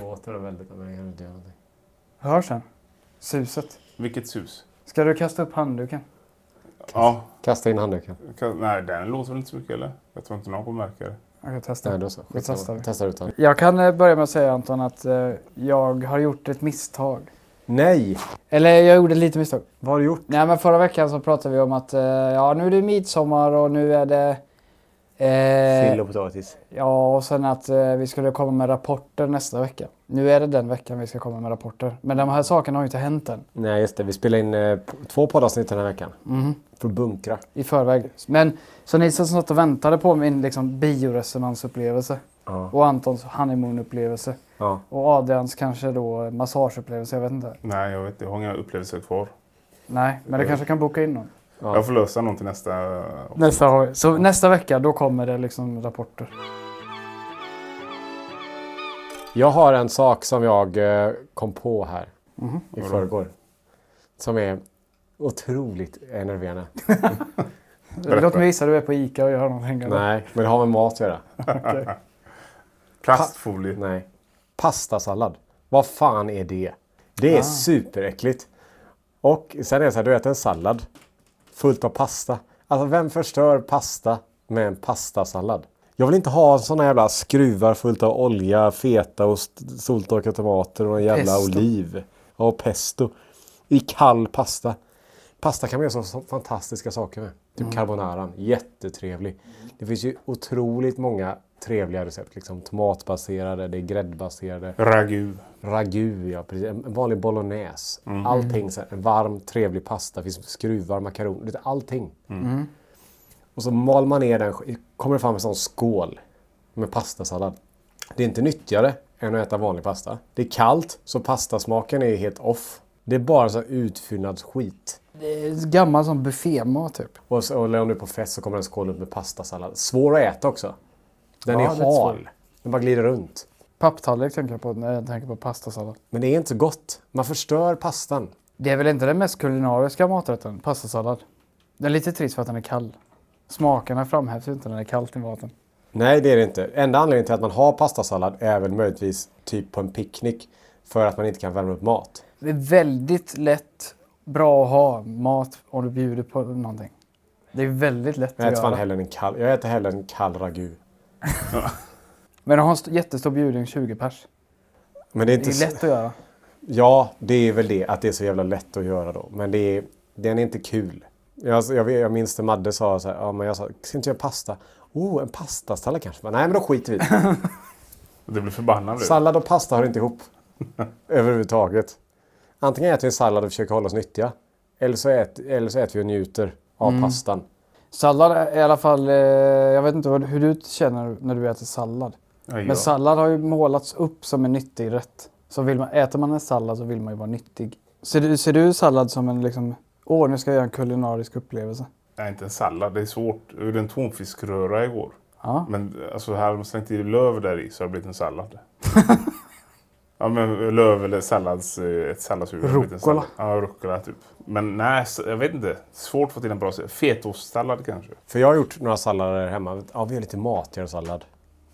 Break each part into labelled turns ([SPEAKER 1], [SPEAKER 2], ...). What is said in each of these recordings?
[SPEAKER 1] Låter det väldigt men jag kan inte göra någonting.
[SPEAKER 2] Hörs den? Suset.
[SPEAKER 3] Vilket sus.
[SPEAKER 2] Ska du kasta upp handduken?
[SPEAKER 3] Ja,
[SPEAKER 1] Kasta in handduken.
[SPEAKER 3] kan, nej den låter väl inte så mycket eller? Jag tror inte någon kommer märka det.
[SPEAKER 2] Jag testar.
[SPEAKER 1] Nej, då så.
[SPEAKER 2] Vi testar
[SPEAKER 1] Skitsamma.
[SPEAKER 2] vi.
[SPEAKER 1] Testar utan.
[SPEAKER 2] Jag kan eh, börja med att säga Anton att eh, jag har gjort ett misstag.
[SPEAKER 1] Nej!
[SPEAKER 2] Eller jag gjorde lite misstag.
[SPEAKER 1] Vad har du gjort?
[SPEAKER 2] Nej men förra veckan så pratade vi om att eh, ja nu är det midsommar och nu är det...
[SPEAKER 4] Sill
[SPEAKER 2] Eh,
[SPEAKER 4] och potatis.
[SPEAKER 2] ja och sen att eh, vi skulle komma med rapporter nästa vecka. Nu är det den veckan vi ska komma med rapporter. Men de här sakerna har ju inte hänt än.
[SPEAKER 1] Nej, just det. Vi spelar in eh, p- två poddavsnitt den här veckan. För att bunkra.
[SPEAKER 2] I förväg. Men så ni som satt och väntade på min liksom, bioresonansupplevelse.
[SPEAKER 1] Ja.
[SPEAKER 2] Och Antons honeymoon-upplevelse.
[SPEAKER 1] Ja.
[SPEAKER 2] Och Adrians kanske då massageupplevelse, jag vet inte.
[SPEAKER 3] Nej, jag vet inte. Jag har inga upplevelser kvar.
[SPEAKER 2] Nej, men du kanske kan boka in någon.
[SPEAKER 1] Ja.
[SPEAKER 3] Jag får lösa någon till nästa...
[SPEAKER 2] Nästa, har vi- så nästa vecka, då kommer det liksom rapporter.
[SPEAKER 1] Jag har en sak som jag eh, kom på här i förrgår. Som är otroligt enerverande.
[SPEAKER 2] Låt mig gissa, du är på ICA och gör någonting. eller?
[SPEAKER 1] Nej, men det har med mat att göra.
[SPEAKER 3] Plastfolie.
[SPEAKER 1] Nej. Pastasallad. Vad fan är det? Det är superäckligt. Och sen är det så här, du äter en sallad fullt av pasta. Alltså vem förstör pasta med en pastasallad? Jag vill inte ha såna jävla skruvar fullt av olja, feta och st- soltorkade tomater och en jävla
[SPEAKER 2] Pesto.
[SPEAKER 1] oliv. Ja, och pesto. I kall pasta. Pasta kan man göra så- så fantastiska saker med. Typ carbonaran. Jättetrevlig. Det finns ju otroligt många trevliga recept. Liksom tomatbaserade, det är gräddbaserade.
[SPEAKER 3] Ragu.
[SPEAKER 1] Ragu, ja precis. En en vanlig bolognese.
[SPEAKER 2] Mhm.
[SPEAKER 1] Allting. Så här, en varm, trevlig pasta. finns skruvar, makaroner. lite Allting.
[SPEAKER 2] Mm.
[SPEAKER 1] Och så mal man ner den. sk- Kommer det fram en sån skål med pastasallad. Det är inte nyttigare än att äta vanlig pasta. Det är kallt, så pastasmaken är helt off. Det är bara så här utfyllnad skit.
[SPEAKER 2] Det är Gammal som buffémat typ.
[SPEAKER 1] Och, så, eller om du är på fest så kommer en skål upp med pastasallad. Svår att äta också. Den
[SPEAKER 2] Ja,
[SPEAKER 1] är
[SPEAKER 2] lite svår.
[SPEAKER 1] hal. Den bara glider runt.
[SPEAKER 2] Papptallrik tänker jag på när jag tänker på pastasallad.
[SPEAKER 1] Men det är inte så gott. Man förstör pastan.
[SPEAKER 2] Det är väl inte den mest kulinariska maträtten, pastasallad. Den är lite trist för att den är kall. Smakerna framhävs ju inte när det är kallt i maten.
[SPEAKER 1] Nej, det är det inte. Enda anledningen till att man har pastasallad är väl möjligtvis typ på en picknick. För att man inte kan värma upp mat.
[SPEAKER 2] Det är väldigt lätt bra att ha mat om du bjuder på någonting. Det är väldigt lätt
[SPEAKER 1] Jag
[SPEAKER 2] att
[SPEAKER 1] äter, fan
[SPEAKER 2] göra.
[SPEAKER 1] hellre en kall, jag äter hellre en kall ragu.
[SPEAKER 2] Men ha en st- jättestor bjudning, 20 pers.
[SPEAKER 1] Men det är
[SPEAKER 2] Det
[SPEAKER 1] inte...
[SPEAKER 2] är
[SPEAKER 1] så-
[SPEAKER 2] lätt att göra.
[SPEAKER 1] Ja, det är väl det. Att det är så jävla lätt att göra då. Men det är, den är inte kul. Jag, jag, vet- jag minns det Madde sa så här. Ja, men jag sa, ska inte göra pasta? Oh, en pastasallad kanske? Men, Nej, men då skiter vi i det.
[SPEAKER 3] Det blir förbannad nu.
[SPEAKER 1] Sallad och pasta hör inte ihop. Överhuvudtaget. Antingen äter vi en sallad och försöker hålla oss nyttiga. Eller så, ät, eller så äter vi och njuter av
[SPEAKER 2] Mm.
[SPEAKER 1] pastan.
[SPEAKER 2] Sallad är i alla fall... Eh, jag vet inte vad, hur du känner när du äter sallad.
[SPEAKER 3] Nej,
[SPEAKER 2] Men
[SPEAKER 3] ja.
[SPEAKER 2] sallad har ju målats upp som en nyttig rätt. Så vill man, äter man en sallad så vill man ju vara nyttig. Ser du, ser du sallad som en liksom... Åh, nu ska jag göra en kulinarisk upplevelse.
[SPEAKER 3] Nej, inte en sallad. Det är svårt. Jag gjorde en tonfiskröra igår.
[SPEAKER 2] Ja.
[SPEAKER 3] Men alltså, här har de slängt i löv där i så har det blivit en sallad. Ja, men löv eller sallads, eh, ett salladshuvud. en liten
[SPEAKER 2] Rucola.
[SPEAKER 3] sallad. Ja, rucola typ. Men nej, s- jag vet inte. Svårt att få till en bra s- fetostsallad kanske.
[SPEAKER 1] För jag har gjort några sallader hemma. Ja, vi gör lite matigare sallad.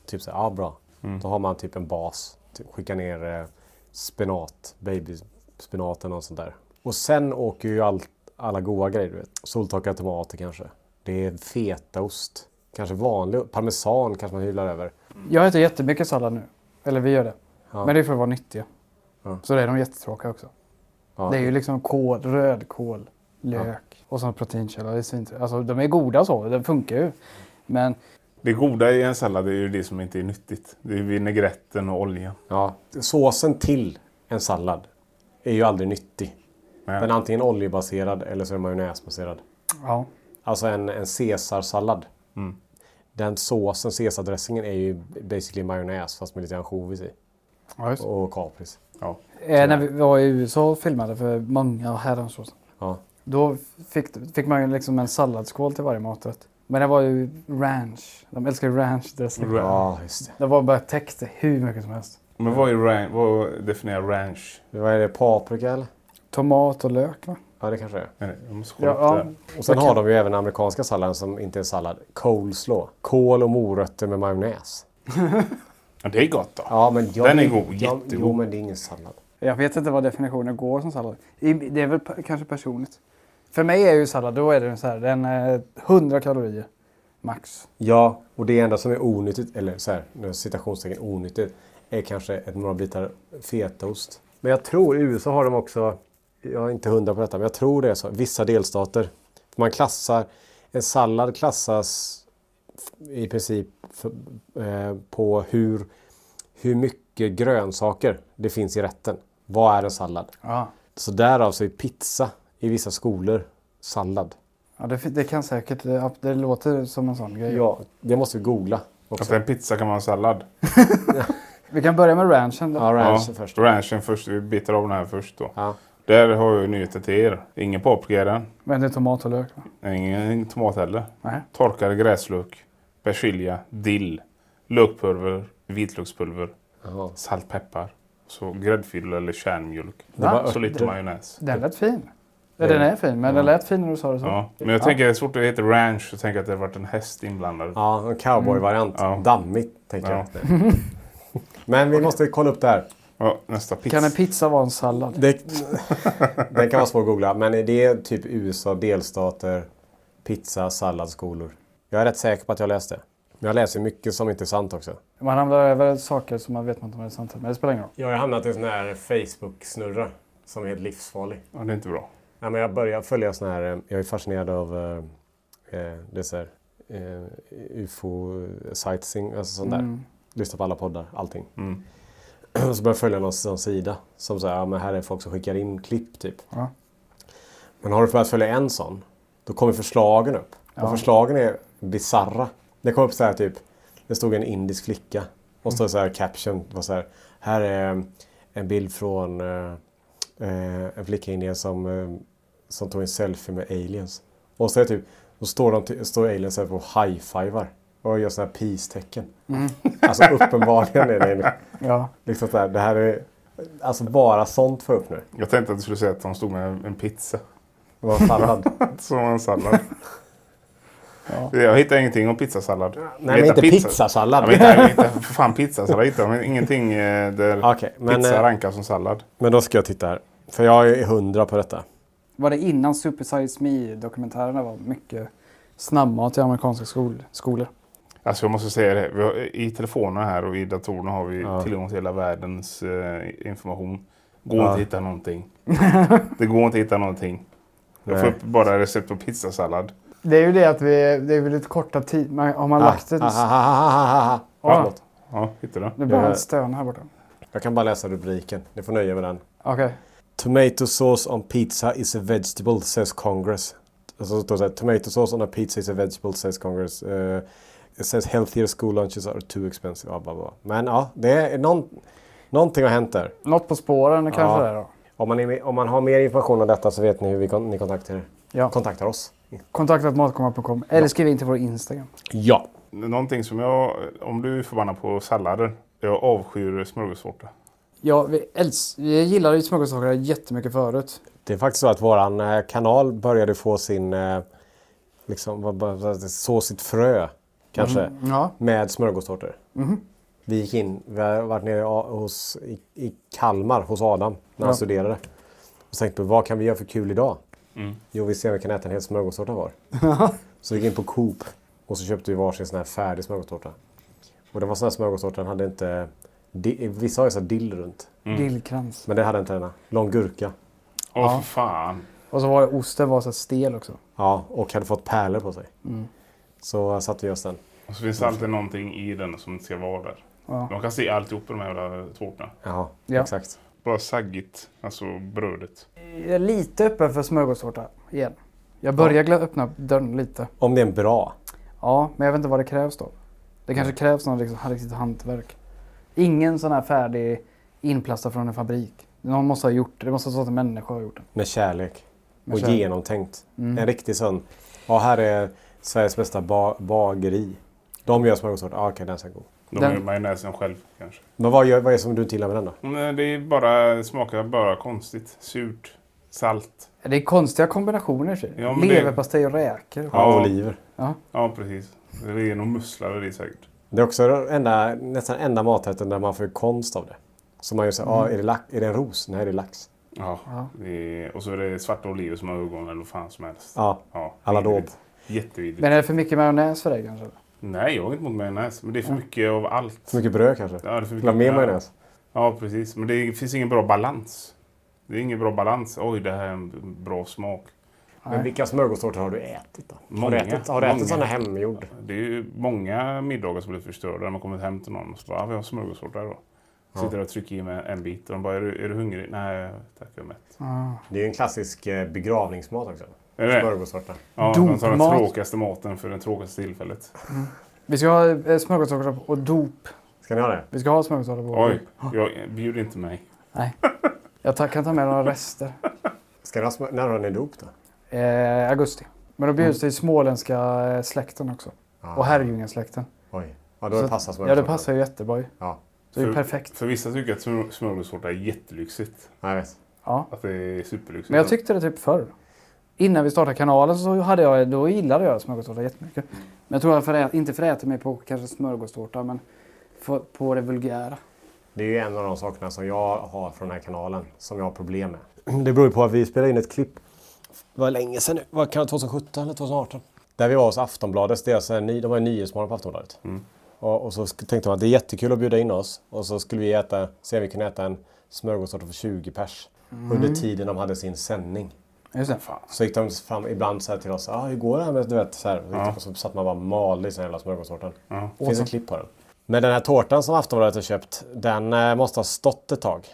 [SPEAKER 1] Typ så här, ja bra. Då har man typ en bas. Typ, skicka ner eh, spenat, babyspenat eller något sånt där. Och sen åker ju allt, alla goda grejer, du vet. Soltorkade tomater kanske. Det är fetaost. Kanske vanlig parmesan kanske man hyllar över.
[SPEAKER 2] Jag äter jättemycket sallad nu. Eller vi gör det.
[SPEAKER 1] Ja.
[SPEAKER 2] Men det är för att vara nyttiga. Så det är de jättetråkiga också.
[SPEAKER 1] Ja.
[SPEAKER 2] Det är ju liksom kål, rödkål, lök och sån proteinkälla. Det är svintr- alltså, de är goda så, det funkar ju. Men
[SPEAKER 3] Det goda i en sallad är ju det som inte är nyttigt. Det är vinägretten och oljan.
[SPEAKER 1] Ja, såsen till en sallad är ju aldrig nyttig.
[SPEAKER 3] Nej.
[SPEAKER 1] Den är antingen oljebaserad eller så är den majonnäsbaserad.
[SPEAKER 2] ja,
[SPEAKER 1] Alltså en, en caesarsallad.
[SPEAKER 3] Mm.
[SPEAKER 1] Den såsen, caesardressingen, är ju basically majonnäs fast med lite ansjovis i.
[SPEAKER 2] ja just.
[SPEAKER 1] Och kapris.
[SPEAKER 3] Ja.
[SPEAKER 2] Eh, när vi var i USA och filmade för många herrans år sedan.
[SPEAKER 1] Ja.
[SPEAKER 2] Då fick, fick man ju liksom en salladsskål till varje maträtt. Men det var ju ranch. De älskar ju ranch dressing.
[SPEAKER 1] ja, just det.
[SPEAKER 2] Det var bara täckte hur mycket som helst.
[SPEAKER 3] Men vad, är ran- vad definierar ranch?
[SPEAKER 1] Vad är det? Paprika eller?
[SPEAKER 2] Tomat och lök va?
[SPEAKER 1] Ja, det kanske det är.
[SPEAKER 3] Nej, Jag måste kolla
[SPEAKER 2] Ja,
[SPEAKER 3] upp det
[SPEAKER 2] ja.
[SPEAKER 3] här.
[SPEAKER 1] Och sen har de ju även amerikanska salladen som inte är sallad. Coleslaw. Kål och morötter med majonnäs.
[SPEAKER 3] Ja, det är gott då.
[SPEAKER 1] Ja, men jag,
[SPEAKER 3] Den är god,
[SPEAKER 1] jag-
[SPEAKER 3] jättegod.
[SPEAKER 1] Jo, men det är ingen sallad.
[SPEAKER 2] Jag vet inte vad definitionen går som sallad. I- Det är väl pe- kanske personligt. För mig är ju sallad, då är det så här, den är 100 kalorier max.
[SPEAKER 1] Ja, och det enda som är onyttigt, eller så här, nu är citationstecken onyttigt, är kanske ett, några bitar fetaost. Men jag tror i USA har de också, jag är inte hundra på detta, men jag tror det är så, vissa delstater. Man klassar, en sallad klassas i princip för, eh, på hur, hur mycket grönsaker det finns i rätten. Vad är en sallad?
[SPEAKER 2] Ja.
[SPEAKER 1] Så därav så är pizza i vissa skolor sallad.
[SPEAKER 2] ja det, fi- det kan säkert, det, det låter som en sån grej.
[SPEAKER 1] Ja, det måste vi googla. Också.
[SPEAKER 3] Alltså en pizza kan man ha sallad.
[SPEAKER 2] Vi kan börja med ranchen. då.
[SPEAKER 1] Ja, ranch
[SPEAKER 3] ja,
[SPEAKER 1] först.
[SPEAKER 3] Ranchen först. Vi bitar av den här först då.
[SPEAKER 1] Ja.
[SPEAKER 3] Där har jag ju nyheter till er. Ingen paprika i den.
[SPEAKER 2] Men det är tomat och lök va?
[SPEAKER 3] Ingen tomat heller.
[SPEAKER 2] Nej.
[SPEAKER 3] Torkad gräslök. Persilja. Dill. Lökpulver. Vitlökspulver.
[SPEAKER 1] Jaha.
[SPEAKER 3] Salt, peppar. Så gräddfil eller kärnmjölk.
[SPEAKER 1] var
[SPEAKER 3] Så lite majonnäs.
[SPEAKER 2] Den lät fin. Ja, den är fin, men den lät fin när du sa det så.
[SPEAKER 3] Ja. Men jag tänker, så fort det heter ranch så tänker jag att det har varit en häst inblandad.
[SPEAKER 1] Ja, en cowboy-variant.
[SPEAKER 3] Ja.
[SPEAKER 1] Dammigt, tänker jag. Men vi måste kolla upp det här.
[SPEAKER 3] Ja, nästa pizza.
[SPEAKER 2] Kan en pizza vara en sallad?
[SPEAKER 1] Det, den kan vara svår att googla, men det är typ USA, delstater, pizza, salladsskolor. Jag är rätt säker på att jag läste. Men jag läser mycket som inte är sant också.
[SPEAKER 2] Man ramlar över saker som man vet inte om det är sant. Men det spelar ingen roll.
[SPEAKER 1] Jag har hamnat i en sån här Facebook-snurra som är helt livsfarlig.
[SPEAKER 3] ja, det är inte bra.
[SPEAKER 1] Nej, men jag börjar följa sån här, eh, jag är fascinerad av eh, eh, det så här, eh, ufo sightseeing, alltså sånt där. Lyssna på alla poddar, allting. Och så börjar jag följa någon sån sida som säger, ja men här är folk som skickar in klipp typ.
[SPEAKER 2] Ja.
[SPEAKER 1] Men har du börjat följa en sån, då kommer förslagen upp. Och förslagen är bizarra. Det kom upp så här typ, det stod en indisk flicka. Och så stod det så här caption, det var så här, här är eh, en bild från eh, eh, en flicka i Indien som, eh, som tog en selfie med aliens. Och så är det typ, då står, de, ty- står aliens här och high-fivar. Och gör sådana här peace-tecken. Alltså uppenbarligen är det
[SPEAKER 2] Ja.
[SPEAKER 1] liksom så här, det här är, alltså bara sånt får upp nu.
[SPEAKER 3] Jag tänkte att du skulle säga att de stod med en pizza.
[SPEAKER 1] Det var sallad.
[SPEAKER 3] Som en sallad. Jag hittar ingenting om pizzasallad. Nej,
[SPEAKER 1] men inte pizzasallad.
[SPEAKER 3] Ja, men inte- jag hittar för fan pizzasallad. Jag hittar ingenting eh, där
[SPEAKER 1] Okej, men,
[SPEAKER 3] pizza
[SPEAKER 1] eh,
[SPEAKER 3] rankas som sallad.
[SPEAKER 1] Men då ska jag titta här. För jag är hundra på detta.
[SPEAKER 2] Var det innan Super Size Me-dokumentärerna var mycket snabbmat i amerikanska skol- skolor?
[SPEAKER 3] Alltså jag måste säga det. Vi har, I telefonerna här och i datorerna har vi tillgång till hela världens eh, information. Går inte att hitta någonting. det går inte att hitta någonting. Jag får
[SPEAKER 1] Nej.
[SPEAKER 3] upp bara recept på pizzasallad.
[SPEAKER 2] Det är ju det att vi, det är väl lite korta tid. Man, har
[SPEAKER 1] Ah,
[SPEAKER 2] man lagt ett...
[SPEAKER 1] Ja, förlåt.
[SPEAKER 3] Ja, hittar du?
[SPEAKER 2] Nu börjar
[SPEAKER 1] Ja.
[SPEAKER 2] han stöna här borta.
[SPEAKER 1] Jag kan bara läsa rubriken. Ni får nöja med den.
[SPEAKER 2] Okej.
[SPEAKER 1] Tomato sauce on pizza is a vegetable says Congress. Alltså, så står det så här, Tomato sauce on a pizza is a vegetable says Congress. Eh, it says healthier school lunches are too expensive. Ja, bla, bla. Men ja, det är någon, någonting har hänt där.
[SPEAKER 2] Något på spåren kanske
[SPEAKER 1] Ja.
[SPEAKER 2] det är då.
[SPEAKER 1] Om man, är, om man har mer information om detta så vet ni hur vi kon, ni kontaktar,
[SPEAKER 2] Ja.
[SPEAKER 1] kontaktar oss.
[SPEAKER 2] Kontaktatmatkomma.com eller skriv in till vår Instagram.
[SPEAKER 1] Ja.
[SPEAKER 3] Någonting som jag, om du är förbannad på sallader, jag avskyr smörgåstårta.
[SPEAKER 2] Ja, vi älsk- jag gillade ju smörgåstårta jättemycket förut.
[SPEAKER 1] Det är faktiskt så att våran eh, kanal började få sin, eh, liksom, vad- vad- vad- så sitt frö kanske
[SPEAKER 2] ja.
[SPEAKER 1] med smörgåstårtor. Vi gick in, vi har varit nere i A- hos, i, i Kalmar hos Adam när han studerade. Och tänkte på vad kan vi göra för kul idag? Jo, vi ser om vi kan äta en hel smörgåstårta var. så vi gick in på Coop och så köpte vi varsin sån här färdig smörgåstårta. Och det var sån här smörgåstårta, den hade inte, di, vissa har ju så här dill runt.
[SPEAKER 2] Dillkrans.
[SPEAKER 1] Men det hade inte denna. Lång gurka.
[SPEAKER 3] Åh, för fan.
[SPEAKER 2] Och så var det, osten var så här stel också.
[SPEAKER 1] Ja, och hade fått pärlor på sig.
[SPEAKER 2] Mm.
[SPEAKER 1] Så satte vi oss den.
[SPEAKER 3] Och så finns det alltid någonting i den som inte ska vara där. De kan se alltihop på de här jävla tårtorna.
[SPEAKER 1] Ja,
[SPEAKER 2] Ja.
[SPEAKER 1] exakt.
[SPEAKER 3] Bara saggigt, alltså brödet.
[SPEAKER 2] Jag är lite öppen för smörgåstårta igen. Jag börjar gla- öppna upp dörren lite.
[SPEAKER 1] Om det är en bra.
[SPEAKER 2] Ja, men jag vet inte vad det krävs då. Det kanske krävs någon liksom, riktigt hantverk. Ingen sån här färdig inplastad från en fabrik. Någon måste ha gjort det. Det måste ha stått en människa och gjort det.
[SPEAKER 1] Med kärlek.
[SPEAKER 2] Med
[SPEAKER 1] och
[SPEAKER 2] kärlek. Mm.
[SPEAKER 1] genomtänkt. En riktig sån. Ja, här är Sveriges bästa ba- bageri. De gör smörgåstårta. Ja, okej, den ska gå.
[SPEAKER 3] De
[SPEAKER 2] Den-
[SPEAKER 3] gör majonnäsen själv kanske.
[SPEAKER 1] Men vad, gör, vad är det som du inte gillar med den då?
[SPEAKER 3] Men eh, det är bara, smakar bara konstigt. Surt, salt.
[SPEAKER 2] Det är konstiga kombinationer. i och för sig.
[SPEAKER 3] Ja, men det-
[SPEAKER 2] Leverpastej och räkor.
[SPEAKER 1] Ja, oliver.
[SPEAKER 3] Ja, precis. Det är nog musslor i det säkert.
[SPEAKER 1] Det är också den enda, nästan enda maträtten där man får konst av det. Så man gör så här,
[SPEAKER 2] Mm.
[SPEAKER 1] ja, är, det lax, är det en ros? Nej, det är lax.
[SPEAKER 3] Ja. Det är, och så är det svarta oliver som har ögon eller vad fan som helst.
[SPEAKER 1] Ja, alla
[SPEAKER 3] vidrigt.
[SPEAKER 1] daub.
[SPEAKER 3] Jättevidrigt.
[SPEAKER 2] Men är det för mycket majonnäs för dig kanske?
[SPEAKER 3] Nej, jag är inte mot majonnäs. Men det är för mycket av allt.
[SPEAKER 1] För mycket bröd kanske?
[SPEAKER 3] Ja, det är för mycket
[SPEAKER 1] Vill du ha mer
[SPEAKER 3] bröd.
[SPEAKER 1] majonnäs?
[SPEAKER 3] Ja, precis. Men det finns ingen bra balans. Det är ingen bra balans. Oj, det här är en bra smak.
[SPEAKER 1] Men vilka smörgåstårtor har du ätit då? Har du
[SPEAKER 3] Många.
[SPEAKER 1] ätit, har du ätit
[SPEAKER 3] Många.
[SPEAKER 1] sådana hemgjord?
[SPEAKER 3] Det är ju många middagar som blir förstörda när man kommer hem till någon och så bara, ah, vi har smörgåstårta idag. Sitter och trycker i mig en bit och de bara, är du, är du hungrig? Nej, tack jag är mätt.
[SPEAKER 1] Det är ju en klassisk eh, begravningsmat också.
[SPEAKER 3] Är det?
[SPEAKER 1] Smörgåstårta.
[SPEAKER 3] Ja, de tar den
[SPEAKER 2] Dopmat.
[SPEAKER 3] tråkigaste maten för det tråkigaste tillfället.
[SPEAKER 2] Vi ska ha eh, smörgåstårta och dop.
[SPEAKER 1] Ska ni ha det?
[SPEAKER 2] Vi ska ha smörgåstårta på
[SPEAKER 3] Oj, jag, bjud inte mig.
[SPEAKER 2] Nej. Jag ta- kan ta med några rester.
[SPEAKER 1] Ska ni ha smör... När har ni dop då?
[SPEAKER 2] Eh, augusti. Men då bjuds det i småländska eh, släkten också. Och Herrljungasläkten.
[SPEAKER 1] Oj. Ja, då det passar
[SPEAKER 2] Ja,
[SPEAKER 1] smörgåstårta.
[SPEAKER 2] det passar ju jättebra ju.
[SPEAKER 1] Ja,
[SPEAKER 2] Så det är ju
[SPEAKER 3] För-
[SPEAKER 2] perfekt.
[SPEAKER 3] För vissa tycker att smör- smörgåstårta är jättelyxigt.
[SPEAKER 1] jag vet.
[SPEAKER 2] Ja.
[SPEAKER 3] Att det är superlyxigt.
[SPEAKER 2] Men jag tyckte det typ förr. Innan vi startade kanalen så hade jag, då gillade jag smörgåstårta jättemycket. Men jag tror jag förä, inte förät mig på kanske smörgåstårta, men på, på det vulgära.
[SPEAKER 1] Det är ju en av de sakerna som jag har från den här kanalen som jag har problem med. Det beror ju på att vi spelade in ett klipp. Det var länge sedan nu. Var kan det 2017 eller 2018? Där vi var hos Aftonbladet. Deras, eh, ny- de har ju Nyhetsmorgon på Aftonbladet.
[SPEAKER 3] Mm.
[SPEAKER 1] Och, och så sk- tänkte man att det är jättekul att bjuda in oss. Och så skulle vi äta, se om vi kunde äta en smörgåstårta för 20 pers. Under tiden de hade sin sändning.
[SPEAKER 2] Just det.
[SPEAKER 1] Så gick de fram ibland så här till oss. Ah, hur går det här med, du vet, så här. Och så satt man bara mal i den här jävla smörgåstårtan. Det finns ett klipp på den. Men den här tårtan som Aftonbladet har köpt, den eh, måste ha stått ett tag.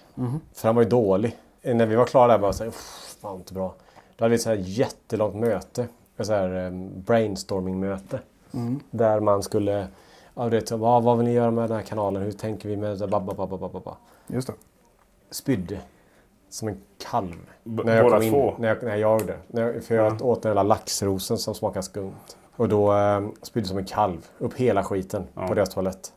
[SPEAKER 1] För den var ju dålig. Eh, När vi var klara där bara så här, "Uff, fan inte bra. Då hade vi ett så här jättelångt möte. Ett så här eh, brainstorming-möte. Där man skulle, ja, du vet, "Ah, vad, vad vill ni göra med den här kanalen? Hur tänker vi med det? Ba, ba, ba, ba, ba, ba, ba
[SPEAKER 2] Just det.
[SPEAKER 1] spydde som en kalv.
[SPEAKER 3] B-
[SPEAKER 1] när jag
[SPEAKER 3] båda
[SPEAKER 1] kom in.
[SPEAKER 3] två?
[SPEAKER 1] När jag, när jag gjorde det. När jag, för jag åt den hela laxrosen som smakade skumt. Och då eh, spydde som en kalv. Upp hela skiten på deras toalett.